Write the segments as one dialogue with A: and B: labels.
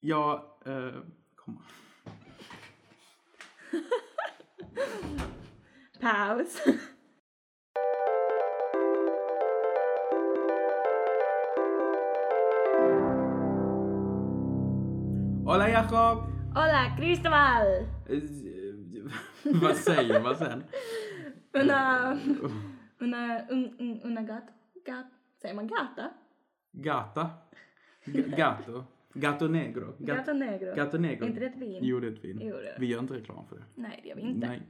A: Jag... Eh, kom.
B: Paus.
A: Hola Jakob!
B: Hola, Cristobal!
A: Eh, Vad säger man sen?
B: Una... Una... Un, un, una gata. Gat, säger man gata?
A: Gata. G- gato. Gato negro. Gat-
B: Gata negro.
A: gato negro.
B: Är inte det ett vin?
A: Jo, det är ett vin.
B: Jo, det är det.
A: Vi gör inte reklam för det.
B: Nej, det gör vi inte.
A: Nej.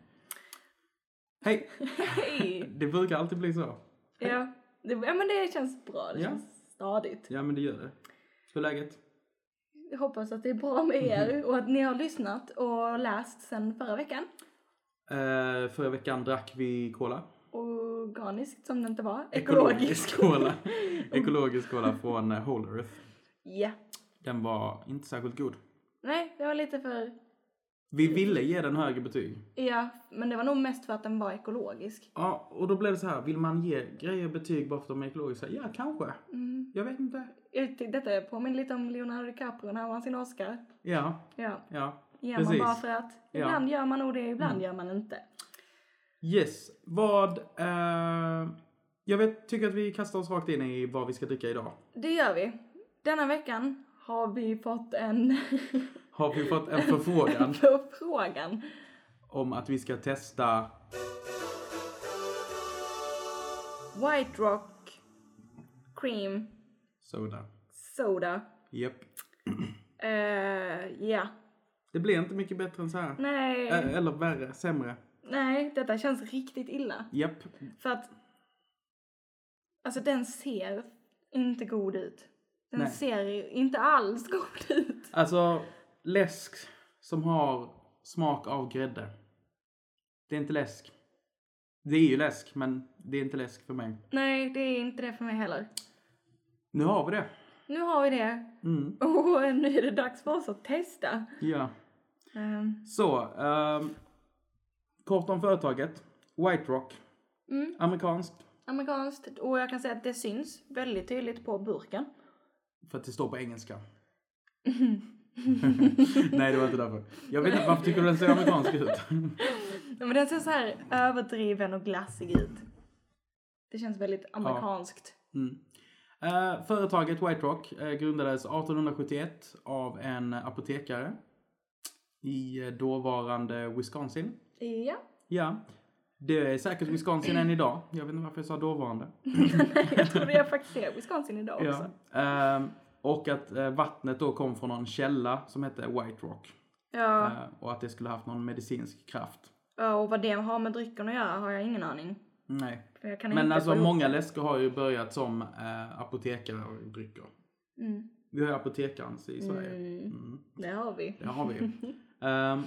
A: Hej!
B: Hej!
A: Det brukar alltid bli så.
B: ja, det, ja, men det känns bra. Det
A: Ja.
B: känns stadigt.
A: Ja, men det gör det. Hur är läget?
B: Jag hoppas att det är bra med er och att ni har lyssnat och läst sen förra veckan.
A: Eh, förra veckan drack vi cola.
B: Organiskt som det inte var.
A: Ekologisk cola. Ekologisk cola från eh, Whole Earth.
B: Ja.
A: Den var inte särskilt god.
B: Nej, det var lite för...
A: Vi ville ge den högre betyg.
B: Ja, men det var nog mest för att den var ekologisk.
A: Ja, och då blev det så här. Vill man ge grejer betyg bara för att de är ekologiska? Ja, kanske.
B: Mm.
A: Jag vet inte.
B: Jag tyckte- Detta påminner lite om Leonardo DiCaprio när han vann sin Oscar.
A: Ja,
B: Ja,
A: ja.
B: ger man
A: Precis.
B: bara för att.
A: Ja. Mm.
B: Ibland gör man nog det, ibland gör man inte.
A: Yes. Vad... Eh, jag vet, tycker att vi kastar oss rakt in i vad vi ska dricka idag.
B: Det gör vi. Denna veckan har vi fått en
A: Har vi fått en förfrågan
B: förfrågan.
A: om att vi ska testa...
B: White Rock Cream
A: Soda.
B: Soda.
A: Japp.
B: Eh, Ja.
A: Det blir inte mycket bättre än så här.
B: Nej.
A: Eh, Eller värre, sämre.
B: Nej, detta känns riktigt illa.
A: Japp.
B: För att... Alltså den ser inte god ut. Den
A: Nej.
B: ser ju inte alls god ut.
A: Alltså, läsk som har smak av grädde. Det är inte läsk. Det är ju läsk, men det är inte läsk för mig.
B: Nej, det är inte det för mig heller.
A: Nu har vi det.
B: Nu har vi det.
A: Mm.
B: Och nu är det dags för oss att testa.
A: Ja.
B: Ehm,
A: Så, ehm, kort om företaget. White Rock.
B: Mm.
A: Amerikanskt.
B: amerikanskt. Och jag kan säga att det syns väldigt tydligt på burken.
A: För att det står på engelska. Nej, det var inte därför. Jag vet inte, varför tycker du den ser amerikansk ut?
B: Ja, Men den ser så här överdriven och glassig ut. Det känns väldigt amerikanskt.
A: Mm. Eh, företaget White Rock eh, grundades 1871 av en apotekare i eh, dåvarande Wisconsin.
B: Ja.
A: Ja, det är säkert Wisconsin än idag. Jag vet inte varför jag sa dåvarande.
B: Nej, jag tror det är faktiskt är Wisconsin idag också.
A: Ja. Eh, och att eh, vattnet då kom från någon källa som hette White Rock.
B: Ja,
A: Eh, och att det skulle haft någon medicinsk kraft.
B: ja, och vad det har med drycken att göra har jag ingen aning.
A: Nej.
B: För jag kan
A: Men
B: inte
A: alltså
B: få ihop-
A: många läskor har ju börjat som eh, apotekare och drycker.
B: Mm.
A: Vi har ju apotekarens i Sverige.
B: Mm,
A: Mm.
B: det har vi.
A: Det har vi. Ehm,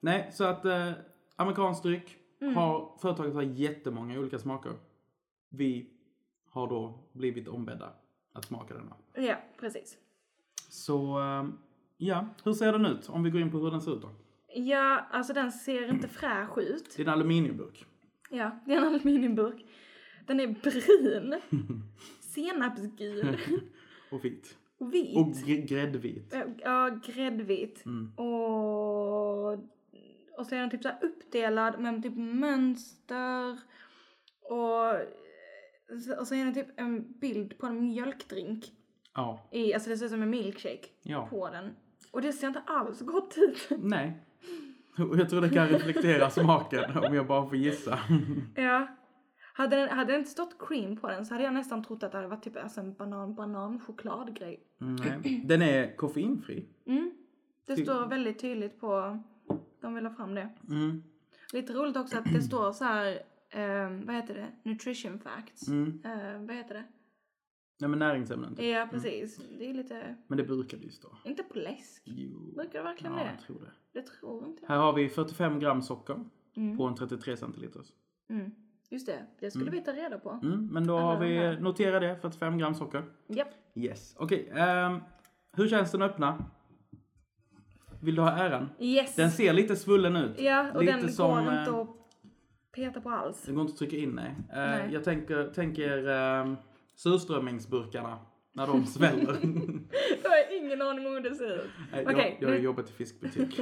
A: nej, så att eh, amerikansk dryck
B: Mm.
A: har företaget har jättemånga olika smaker. Vi har då blivit ombedda att smaka denna.
B: Ja, precis.
A: Så ehm, ja, hur ser den ut? Om vi går in på hur den ser ut då.
B: Ja, alltså den ser inte fräsch ut.
A: Det är en aluminiumburk.
B: Ja, det är en aluminiumburk. Den är brun, senapsgul
A: Och vit.
B: och vit.
A: Och Mm. gr- gräddvit.
B: Ja, gräddvit. Och, och så är den typ så här uppdelad med typ mönster. Och, och så är den typ en bild på en mjölkdrink.
A: Ja.
B: I, alltså det ser ut som en milkshake
A: ja.
B: på den. Och det ser inte alls gott ut.
A: Nej. Och jag tror det kan reflektera smaken om jag bara får gissa.
B: ja. Hade den, hade det inte stått cream på den så hade jag nästan trott att det hade varit typ alltså en banan banan chokladgrej.
A: Nej. Den är koffeinfri.
B: Mm. Det
A: Ty-
B: står väldigt tydligt på, de vill ha fram det.
A: Mm.
B: Lite roligt också att det står så här, ehm, vad heter det? Nutrition facts.
A: Mm.
B: Eh, vad heter det?
A: Nej men näringsämnen. typ.
B: Ja precis, det är lite,
A: Men det brukar det ju stå.
B: inte på läsk.
A: Jo.
B: Brukar det verkligen
A: Ja,
B: det?
A: jag tror det.
B: Det tror inte jag.
A: Här har vi 45 gram socker
B: Mm.
A: på en 33 centiliters.
B: Mm. Just det, det skulle vi ta reda på.
A: Mm, men då har vi, notera det, 45 gram socker.
B: Japp.
A: Yes. Okej, ehm, hur känns den öppna? Vill du ha äran?
B: Yes!
A: Den ser lite svullen ut.
B: Ja, och
A: lite
B: den
A: som,
B: går
A: eh,
B: inte att peta på alls.
A: Den går inte att trycka in, nej. Eh,
B: Nej.
A: Jag ehm, tänker, tänker um, surströmmingsburkarna när de sväller.
B: Jag har har ingen aning om hur det ser ut.
A: Nej,
B: Okej,
A: jag, jag har
B: nu-
A: jobbat i fiskbutik.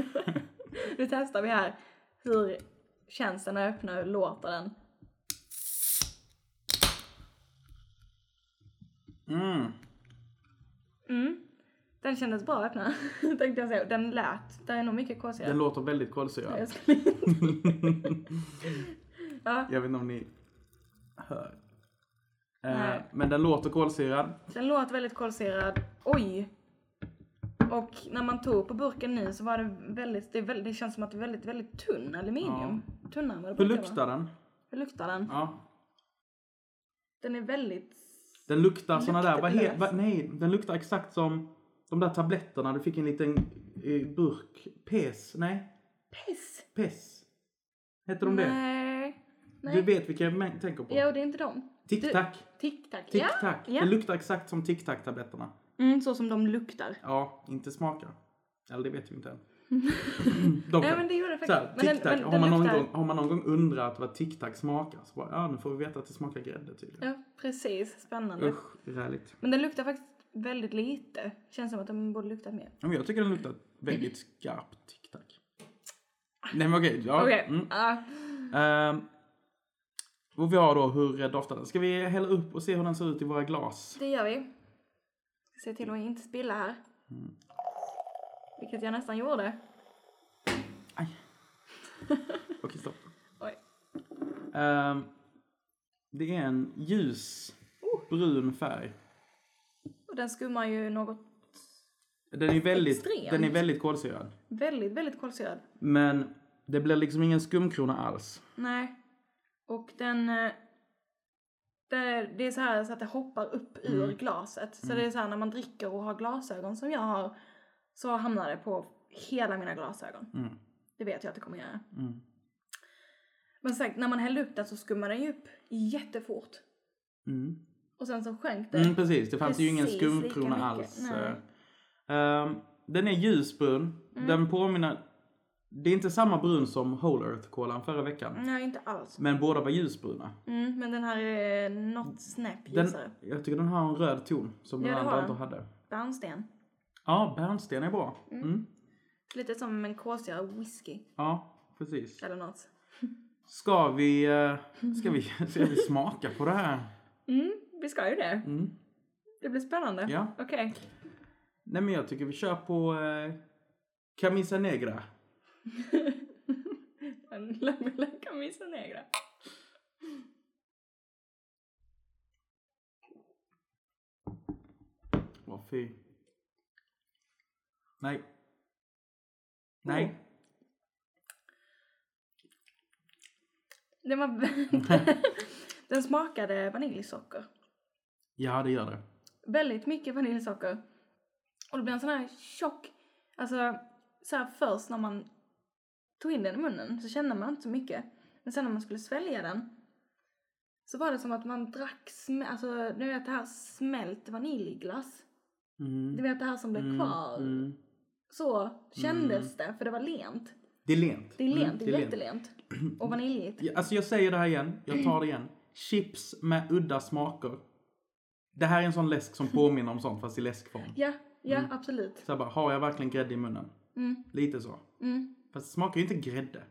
B: Nu testar vi här. Hur känns den när jag öppnar och låter den?
A: Mm.
B: Mm. Den kändes bra att öppna. Tänkte jag säga. Den lät. Där är nog mycket kolsyra.
A: Den låter väldigt kolsyrad.
B: Jag skulle inte... ja,
A: Jag vet inte om ni hör. Eh,
B: Nej.
A: men den låter kolsyrad.
B: den låter väldigt kolsyrad. Oj! Och när man tog på burken nu så var det väldigt, det, är väldigt, det känns som att det är väldigt, väldigt tunn aluminium. Tunnare än vad det
A: Hur
B: brukar vara.
A: luktar den?
B: Hur luktar den?
A: Ja.
B: Den är väldigt...
A: Den luktar såna där, vad he,
B: Luktlös.
A: vad- nej, den luktar exakt som de där tabletterna du fick i en liten eh, burk. Pes, nej,
B: Piss!
A: pes. Heter de det?
B: Nej.
A: Du
B: Nej.
A: vet vilka jag men- tänker på?
B: Ja, och det är inte dem.
A: Tic Tac.
B: Tic Tac.
A: Tic
B: ja.
A: Tac. Det luktar exakt som Tic Tac-tabletterna.
B: Mm, så som de luktar.
A: Ja, inte smakar. Eller det vet vi inte än. De
B: Nej men det gjorde det
A: Så
B: faktiskt.
A: här,
B: men
A: tic tac.
B: men
A: Har, man någon
B: luktar-
A: gång, har man någon gång undrat vad tic tac smakar så bara, ja nu får vi veta att det smakar grädde tydligen.
B: Ja, precis. Spännande.
A: Usch, räligt.
B: Men den luktar faktiskt väldigt lite. Känns som att den borde luktat mer.
A: Ja, Men jag tycker den luktar väldigt skarpt tic tac. Nej men okej. Ja,
B: Ah. Okej.
A: mm.
B: ah.
A: Ehm, och vi har då hur eh, doftar den. Ska vi hälla upp och se hur den ser ut i våra glas?
B: det gör vi. Se till att inte spilla här.
A: Mm.
B: Vilket jag nästan gjorde.
A: Aj. Okej, stopp.
B: Oj.
A: Ehm, det är en ljus
B: Oh.
A: brun färg.
B: Och den skummar ju något
A: Den är väldigt,
B: Extremt.
A: den är väldigt kolsyrad.
B: väldigt, väldigt kolsyrad.
A: Men det blir liksom ingen skumkrona alls.
B: Nej. Och den... eh, Det, det är så här så att det hoppar upp ur
A: Mm.
B: glaset. Så det är så här när man dricker och har glasögon som jag har så hamnar det på hela mina glasögon.
A: Mm.
B: Det vet jag att det kommer göra.
A: Mm.
B: Men som sagt, när man hällde upp den så skummade den ju upp jättefort.
A: Mm.
B: Och sen så sjönk den.
A: Mm, precis, det fanns ju ingen
B: Precis, lika
A: skumkrona
B: mycket.
A: alls.
B: Nej.
A: Ehm, den är ljusbrun.
B: Mm.
A: Den påminner... Det är inte samma brun som Whole Earth-kolan förra veckan.
B: Nej, inte alls.
A: Men båda var ljusbruna.
B: Mm, men den här är något snäpp
A: Den,
B: ljusare.
A: jag tycker den har en röd ton som
B: Ja,
A: den
B: det har
A: andra
B: den.
A: inte hade.
B: Bärnsten.
A: Ja, bärnsten är bra. Mm.
B: Lite som en kolsyrad whisky
A: Ja, precis.
B: eller något.
A: Ska vi, eh, ska, vi, ska vi smaka på det här?
B: Mm, vi ska ju det.
A: Mm.
B: Det blir spännande.
A: Ja.
B: Okej.
A: Nej men jag tycker vi kör på eh, Camisa Negra.
B: En Lamella camisa negra.
A: Åh fy. Nej. Nej.
B: Den var... den smakade vaniljsocker.
A: Ja det gör det.
B: Väldigt mycket vaniljsocker. Och det blev en sån här tjock... Alltså, så här först när man tog in den i munnen så kände man inte så mycket. Men sen när man skulle svälja den så var det som att man drack sm- alltså, du vet det här smält vaniljglass.
A: Mm.
B: Du vet det här som blev
A: Mm,
B: kvar.
A: mm.
B: Så kändes det, för det var lent.
A: Det är lent.
B: Det är lent,
A: Mm,
B: det är jättelent. Och vaniljigt.
A: Ja, Alltså jag säger det här igen, jag tar det igen. Chips med udda smaker. Det här är en sån läsk som påminner om sånt fast i läskform.
B: Ja, ja
A: Mm.
B: absolut.
A: Så jag bara, har jag verkligen grädde i munnen?
B: Mm,
A: Lite så.
B: mm.
A: Fast det smakar ju inte grädde.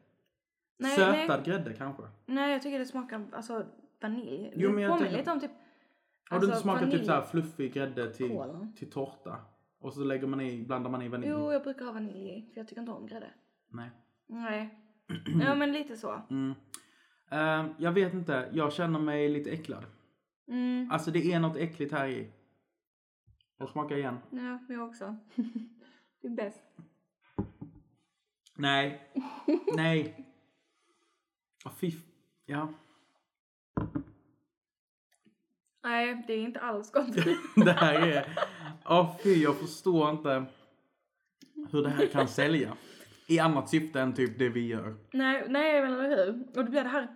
B: Nej,
A: Sötad
B: nej,
A: grädde kanske. Har
B: nej, jag tycker det smakar alltså, vanilj.
A: Jo, men
B: det
A: jag
B: påminner
A: tänker-
B: lite om typ...
A: du inte
B: alltså,
A: smakat typ
B: vanilj-
A: så här fluffig grädde till,
B: Kola.
A: till tårta? Och så lägger man i, blandar man i vanilj?
B: Jo, jag brukar ha vanilj i, för jag tycker inte om grädde.
A: Nej.
B: Nej. ja, men lite så.
A: Mm. Ehm, jag vet inte, jag känner mig lite äcklad.
B: Mm,
A: Alltså det är något äckligt här i. Jag smakar igen.
B: ja, jag också. det är bäst.
A: Nej. Nej. Oh, fy. f- Ja.
B: Nej, det är inte alls gott.
A: Det här är... Åh fy, jag förstår inte hur det här kan sälja. I annat syfte än typ det vi gör.
B: nej, nej, men eller hur? Och det blir det här...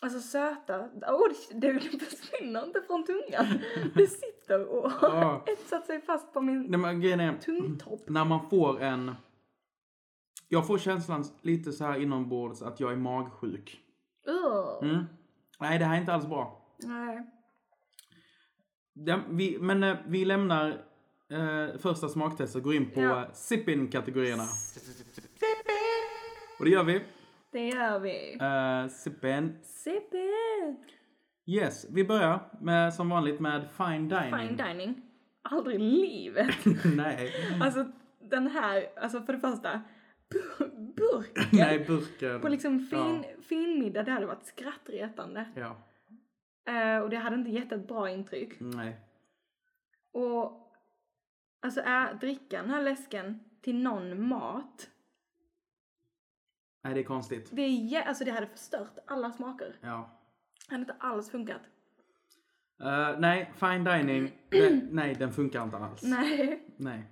B: Alltså söta, oh, det, det försvinner inte från tungan. Det sitter och
A: Ja.
B: har etsat sig fast på min
A: Nej, men grejen är,
B: tungtopp.
A: när man får en... Jag får känslan lite så här inombords att jag är magsjuk.
B: Ugh.
A: Mm. Nej, det här är inte alls bra.
B: Nej.
A: Ja, vi, men eh, vi lämnar eh, första smaktestet går in på
B: Ja.
A: ja. sippin-kategorierna. Och det gör vi.
B: Det gör vi.
A: Eh, sippin.
B: Sip it!
A: Yes, vi börjar med, som vanligt med fine dining.
B: Fine dining. Aldrig i livet.
A: Nej.
B: Alltså den här, alltså för det första, bur- burken
A: Nej, burken.
B: på liksom fin, finmiddag, det hade varit skrattretande.
A: Ja.
B: Eh, och det hade inte gett ett bra intryck.
A: Nej.
B: Och alltså är dricka den här läsken till någon mat,
A: Nej, det är konstigt.
B: det, är, jä- alltså, det hade förstört alla smaker.
A: Ja.
B: Det hade inte alls funkat.
A: Eh, nej, fine dining. det, nej, den funkar inte alls.
B: Nej,
A: Nej.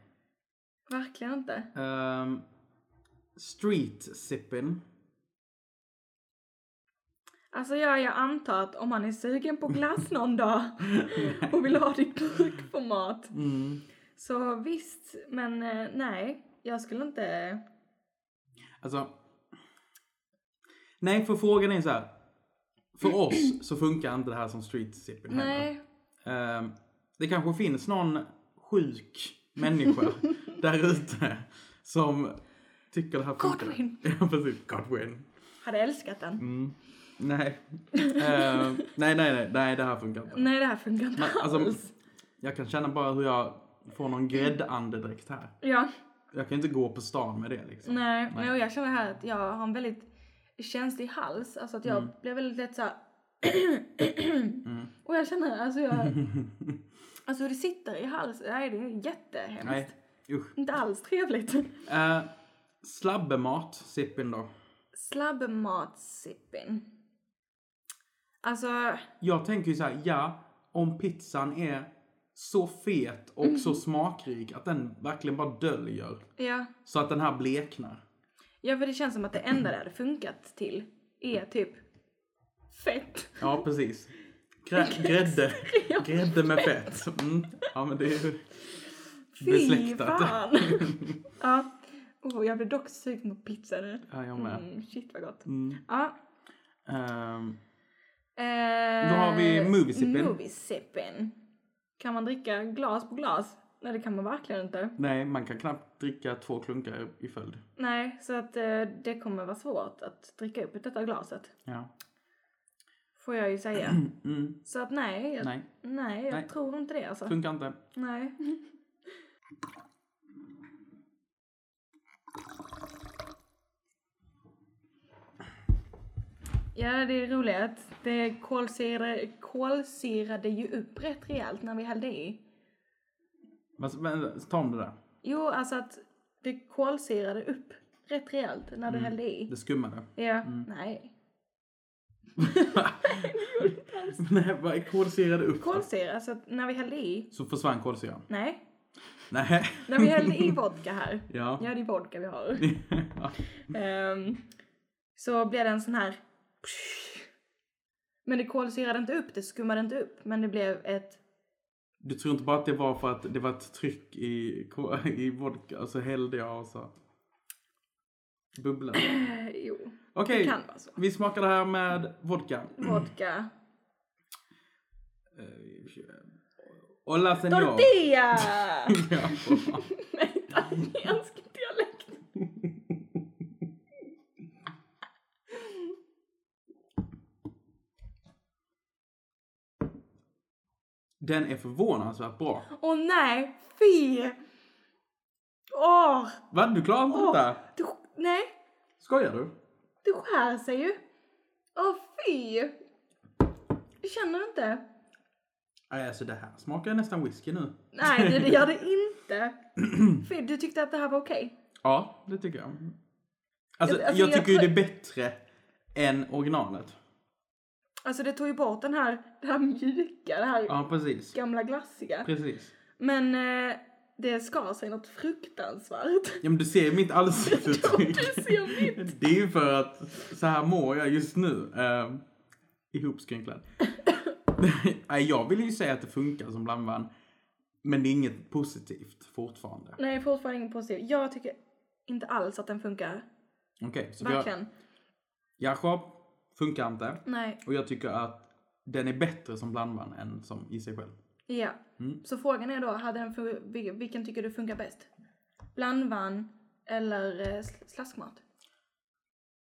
B: verkligen inte.
A: Ehm, street sippin.
B: Alltså jag, jag antar att om man är sugen på glass någon dag och vill ha det i burkformat
A: Mm.
B: så visst, men eh, nej. Jag skulle inte...
A: Alltså. Nej, för frågan är så här. För oss så funkar inte det här som street sipping
B: Nej.
A: Ehm, det kanske finns någon sjuk människa där ute som tycker det här funkar.
B: Godwin.
A: Ja, precis. Godwin.
B: Hade älskat den.
A: Mm. Nej. Ehm, nej, nej, nej, nej, det här funkar inte.
B: Nej, det här funkar inte
A: Men, alltså,
B: alls.
A: jag kan känna bara hur jag får någon gräddandedräkt här.
B: Ja,
A: Jag kan inte gå på stan med det liksom.
B: nej. nej. Och jag känner här att jag har en väldigt känslig hals. Alltså att jag
A: Mm.
B: blir väldigt lätt såhär... Och jag känner, alltså jag... Alltså hur det sitter i halsen, nej det är jättehemskt.
A: Nej, usch.
B: Inte alls trevligt.
A: Eh, slabbemat, sippin då.
B: Slabbmatsippin. Alltså,
A: Jag tänker ju så här, ja, om pizzan är så fet och
B: Mm.
A: så smakrik att den verkligen bara döljer.
B: ja.
A: Så att den här bleknar.
B: Ja, för det känns som att det enda det hade funkat till är typ fett.
A: Ja, precis. Grä- grädde. Grädde med fett. Mm. Ja, men det är ju besläktat.
B: fan! ja. Oh, jag blir dock sugen på pizza nu.
A: Ja, jag med.
B: Mm, shit vad gott.
A: Mm.
B: Ja. Mm.
A: Ehm,
B: Eh,
A: Då har vi moviesippin.
B: moviesippin. Kan man dricka glas på glas? Nej, det kan man verkligen inte.
A: nej, man kan knappt dricka två klunkar i följd.
B: Nej, så att eh, det kommer vara svårt att dricka upp detta glaset.
A: Ja.
B: Får jag ju säga.
A: Mm.
B: Så att nej, jag, nej.
A: Nej,
B: jag
A: Nej.
B: tror inte det alltså.
A: funkar inte.
B: Nej. Ja, det är roligt att det kolsyrade, kolsyrade ju upp rätt rejält när vi hällde i.
A: Men, men, ta om det där.
B: Jo, alltså att det kolsyrade upp rätt rejält när du hällde i.
A: Det skummade.
B: Ja, nej.
A: Nej, vad är kolsyrade upp?
B: Kolsyra, så att när vi hällde i.
A: Så försvann kolsyran.
B: Nej.
A: Nej.
B: När vi hällde i vodka här.
A: Ja.
B: Ja, det är vodka vi har.
A: ja.
B: Ehm, så blev det en sån här... Men det kolsyrade inte upp, det skummade inte upp. Men det blev ett...
A: Du tror inte bara att det var för att det var ett tryck i, ko- i vodka och så hällde jag och så bubblade.
B: eh, Jo,
A: Okej,
B: det kan vara så.
A: vi smakar det här med vodka.
B: Mm. Vodka.
A: Hola Eh, senor.
B: Tortilla!
A: Ja.
B: Med italiensk dialekt.
A: Den är förvånansvärt bra.
B: Åh nej, fy! Åh!
A: Va? Du klarar inte
B: åh,
A: detta?
B: du, nej,
A: Skojar du?
B: du skär sig ju. Åh fy! Jag känner inte.
A: Nej, Alltså det här smakar nästan whisky nu.
B: Nej, det, det gör det inte. Fy, du tyckte att det här var okej?
A: Ja, det tycker jag. Alltså,
B: Alltså,
A: jag
B: jag
A: tycker ju det
B: tror-
A: är bättre än originalet.
B: Alltså det tog ju bort den här, det här mjuka, det här
A: Ja, precis.
B: gamla glassiga.
A: Precis.
B: Men eh, det skar sig något fruktansvärt.
A: Ja, men du ser ju mitt ansiktsuttryck.
B: Du ser mitt.
A: Det är ju för att så här mår jag just nu. Eh, ihopskrynklad. Nej, jag vill ju säga att det funkar som blandvin. Men det är inget positivt fortfarande.
B: Nej, fortfarande ingen positiv. Jag tycker inte alls att den funkar.
A: Okej, så vi har...
B: Verkligen.
A: Jakob funkar inte.
B: Nej.
A: Och jag tycker att den är bättre som blandvin än som i sig själv.
B: Ja.
A: Mm.
B: Så frågan är då, hade den fun- vil- vilken tycker du funkar bäst? Blandvann eller eh, sl- slaskmat?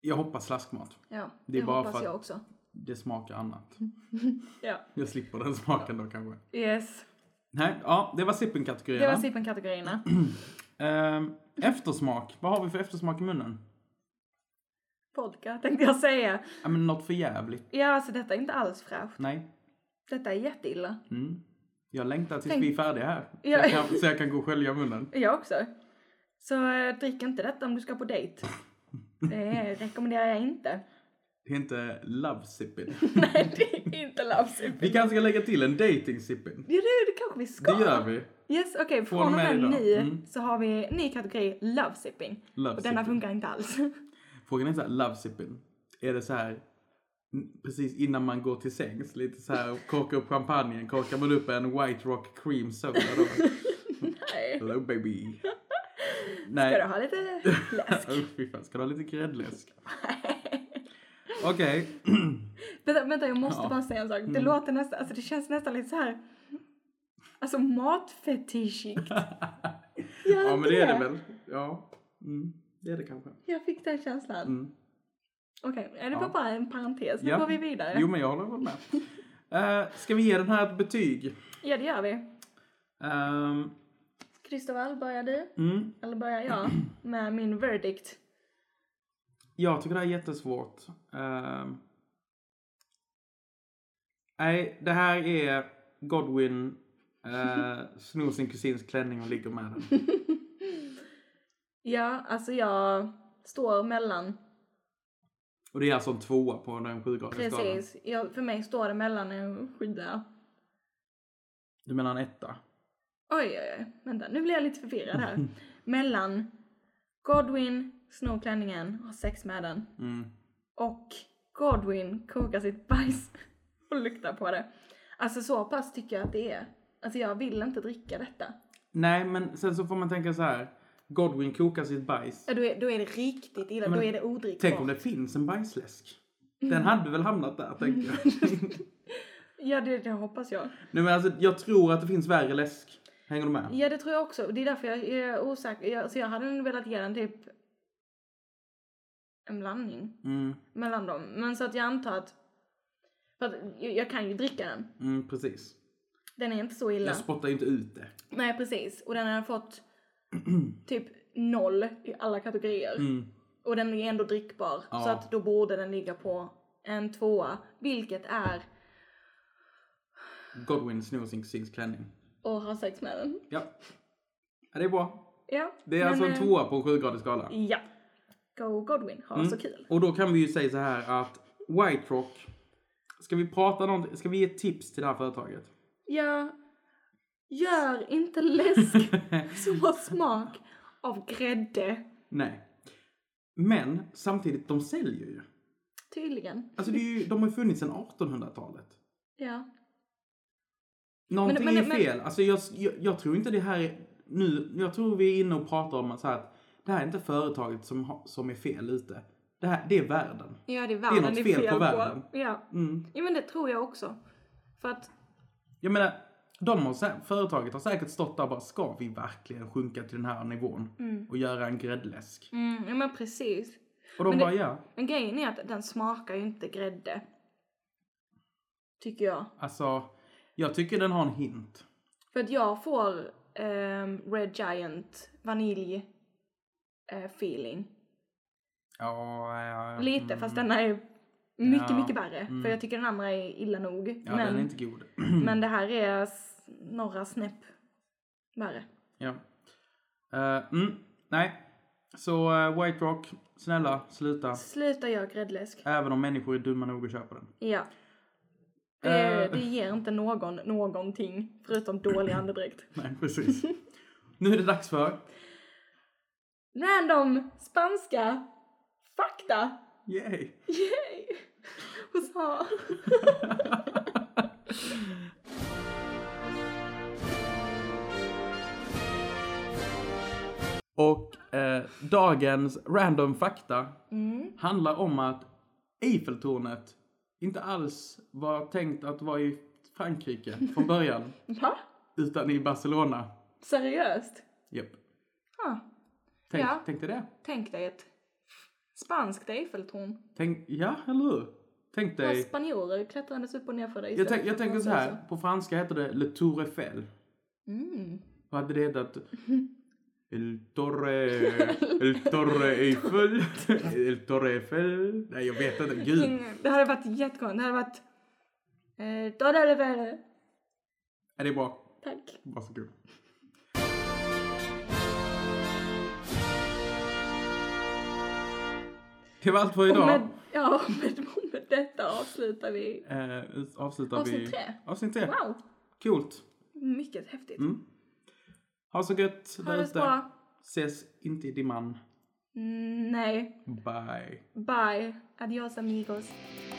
A: Jag hoppas slaskmat.
B: Ja,
A: Det är
B: det
A: bara
B: hoppas
A: för att-
B: jag också.
A: Det smakar annat.
B: Mm. Ja.
A: Jag slipper den smaken då kanske.
B: Yes.
A: Nej, ja, det var
B: Det var
A: sippen-kategorierna.
B: sippen-kategorierna.
A: Ehm, eftersmak. Vad har vi för eftersmak i munnen?
B: Vodka tänkte jag säga.
A: Ja, men något för jävligt.
B: Ja, alltså detta är inte alls fräscht.
A: Nej.
B: Detta är jätteilla.
A: Mm. Jag längtar tills
B: Tänk-
A: vi är färdiga här. Så,
B: Ja.
A: jag kan, så jag kan gå och skölja munnen.
B: Jag också. Så eh, drick inte detta om du ska på dejt. Det rekommenderar jag inte.
A: Det är inte love sipping.
B: Nej, det är inte lapsip.
A: Vi kanske ska lägga till en dating sipping.
B: Jo, det, det kanske vi ska.
A: Det gör vi.
B: Yes, okej.
A: Från och
B: Från och
A: med idag.
B: med nu
A: Mm.
B: så har vi en ny kategori, love sipping.
A: Love
B: Och denna
A: sipping.
B: funkar inte alls.
A: Frågan är så här, love sipping. Är det så här n- precis innan man går till sängs? Lite så här, korka upp champagnen, korkar man upp en White Rock cream soda då?
B: Nej.
A: Hello baby.
B: Ska du
A: Nej.
B: ha lite läsk?
A: Ska du ha? Ska du ha lite gräddläsk? Okej.
B: vänta, vänta, jag måste
A: Ja. Mm.
B: bara säga en sak. Det låter nästan, alltså det känns nästan lite så här. Alltså matfetischigt. Gör
A: Ja
B: inte
A: men det är det väl. Ja. Mm. Det är det kanske.
B: Jag fick den känslan.
A: Mm.
B: Okej, är det
A: Ja.
B: var bara en parentes. Nu
A: Ja.
B: går vi vidare.
A: Jo men jag håller väl med. Uh, ska vi ge den här ett betyg?
B: Ja, det gör vi.
A: Ehm,
B: Kristoffer, börjar du?
A: mm.
B: Eller börjar jag med min verdict?
A: Jag tycker det här är jättesvårt. Ehm. Nej, det här är Godwin uh, snor sin kusins klänning och ligger med den.
B: Ja, alltså jag står mellan.
A: Och det är alltså en tvåa på den sjugradiga skalan.
B: Precis. Jag, för mig står det mellan en skida.
A: Du menar en etta?
B: Oj, oj, oj. Vänta, nu blir jag lite förvirrad här. mellan Godwin snor klänningen och har sex med den.
A: Mm.
B: Och Godwin kokar sitt bajs och luktar på det. Alltså så pass tycker jag att det är. Alltså jag vill inte dricka detta.
A: Nej, men sen så får man tänka så här. Godwin kokar sitt bajs.
B: Ja, Då är, då är det riktigt illa,
A: Men
B: då är det
A: Tänk om
B: odrickbart.
A: det finns en bajsläsk. Den hade väl hamnat där, tänker jag.
B: Ja, det, det hoppas jag.
A: Nej, men alltså, jag tror att det finns värre läsk. Hänger du med?
B: Ja, det tror jag också. Det är därför jag är osäker. Jag, så jag hade nog velat ge den typ en blandning
A: Mm,
B: mellan dem. Men så att jag antar att... För att jag, jag kan ju dricka den.
A: mm precis.
B: Den är inte så illa.
A: Jag spottar ju inte ut det.
B: Nej, precis. Och den har fått typ noll i alla kategorier.
A: Mm.
B: Och den är ändå drickbar.
A: Ja.
B: Så att då borde den ligga på en tvåa. Vilket är
A: Godwin snor sin kusins klänning.
B: att ha sex med den.
A: Ja. ja. Det är bra.
B: Ja.
A: Det är
B: men,
A: alltså en
B: eh,
A: tvåa på en sjugradig skala.
B: Ja. Go Godwin, ha
A: Mm.
B: så kul.
A: Och då kan vi ju säga så här att White Rock. Ska vi prata någonting? Ska vi ge tips till det här företaget?
B: Ja, gör inte läsk som har smak av grädde.
A: Nej. Men samtidigt, de säljer ju.
B: Tydligen.
A: Alltså det är ju, de har ju funnits sedan 1800-talet.
B: Ja.
A: Någonting
B: Men- men-
A: är
B: men-
A: fel. Alltså jag, jag, jag tror inte det här är, nu, jag tror vi är inne och pratar om att, så här, att det här är inte företaget som, har- som är fel ute. Det, här, det är världen.
B: Ja, det är
A: Det är
B: världen
A: något fel på världen.
B: Ja.
A: Mm.
B: ja, men det tror jag också. För att,
A: Jag menar, de har, sä- företaget har säkert stått där och bara, ska vi verkligen sjunka till den här nivån och göra en gräddläsk?
B: mm, ja men precis.
A: Och de
B: Men det-
A: bara, ja.
B: Men grejen är att den smakar ju inte grädde. Tycker jag.
A: Alltså, jag tycker den har en hint.
B: För att jag får ehm, Red Giant vanilj eh, feeling.
A: Ja, ja, Mm. ja.
B: Lite, fast denna är mycket,
A: Ja. Mm.
B: mycket värre. För jag tycker den andra är illa nog.
A: ja den är inte god.
B: Men det här är s- några snäpp värre.
A: Ja. Eh, mm, nej. Så eh, White Rock, snälla sluta.
B: Sluta göra gräddläsk.
A: Även om människor är dumma nog att köpa den.
B: Ja. Det,
A: Eh.
B: det ger inte någon någonting förutom dålig andedräkt.
A: Nej, precis. nu är det dags för...
B: Random spanska fakta.
A: Yay!
B: Yay! Och så.
A: Och eh, dagens random fakta
B: Mm.
A: handlar om att Eiffeltornet inte alls var tänkt att vara i Frankrike från början.
B: Va?
A: utan i Barcelona.
B: Seriöst?
A: Japp.
B: Huh.
A: Tänk,
B: Ja.
A: tänk dig det.
B: Tänk dig ett spanskt Eiffeltorn.
A: Tänk, ja, eller hur? Tänk
B: Några
A: dig.
B: spanjorer klättrandes upp och ner för dig
A: Jag,
B: istället
A: tänk,
B: för
A: jag tänker så
B: fransoser.
A: här. På franska heter det Le Tour Eiffel.
B: Mm.
A: Vad hade det hetat? El Torre... El Torre Eiffel. El Torre Eiffel. Nej, jag vet inte. Gud.
B: Ingen- Det hade varit jättekonstigt. Det hade varit... Eh, ta det eller
A: Är det är bra?
B: Tack.
A: Varsågod. Det var allt för
B: Och
A: idag.
B: med, ja, med, med detta avslutar vi
A: Eh, avslutar vi...
B: avsnitt tre.
A: Avsnitt tre.
B: Wow,
A: Coolt.
B: mycket häftigt.
A: Mm. Ha så gött
B: ha det
A: där
B: så
A: ute.
B: bra.
A: Ses inte i dimman.
B: Mm, Nej,
A: Bye.
B: bye. Adios amigos.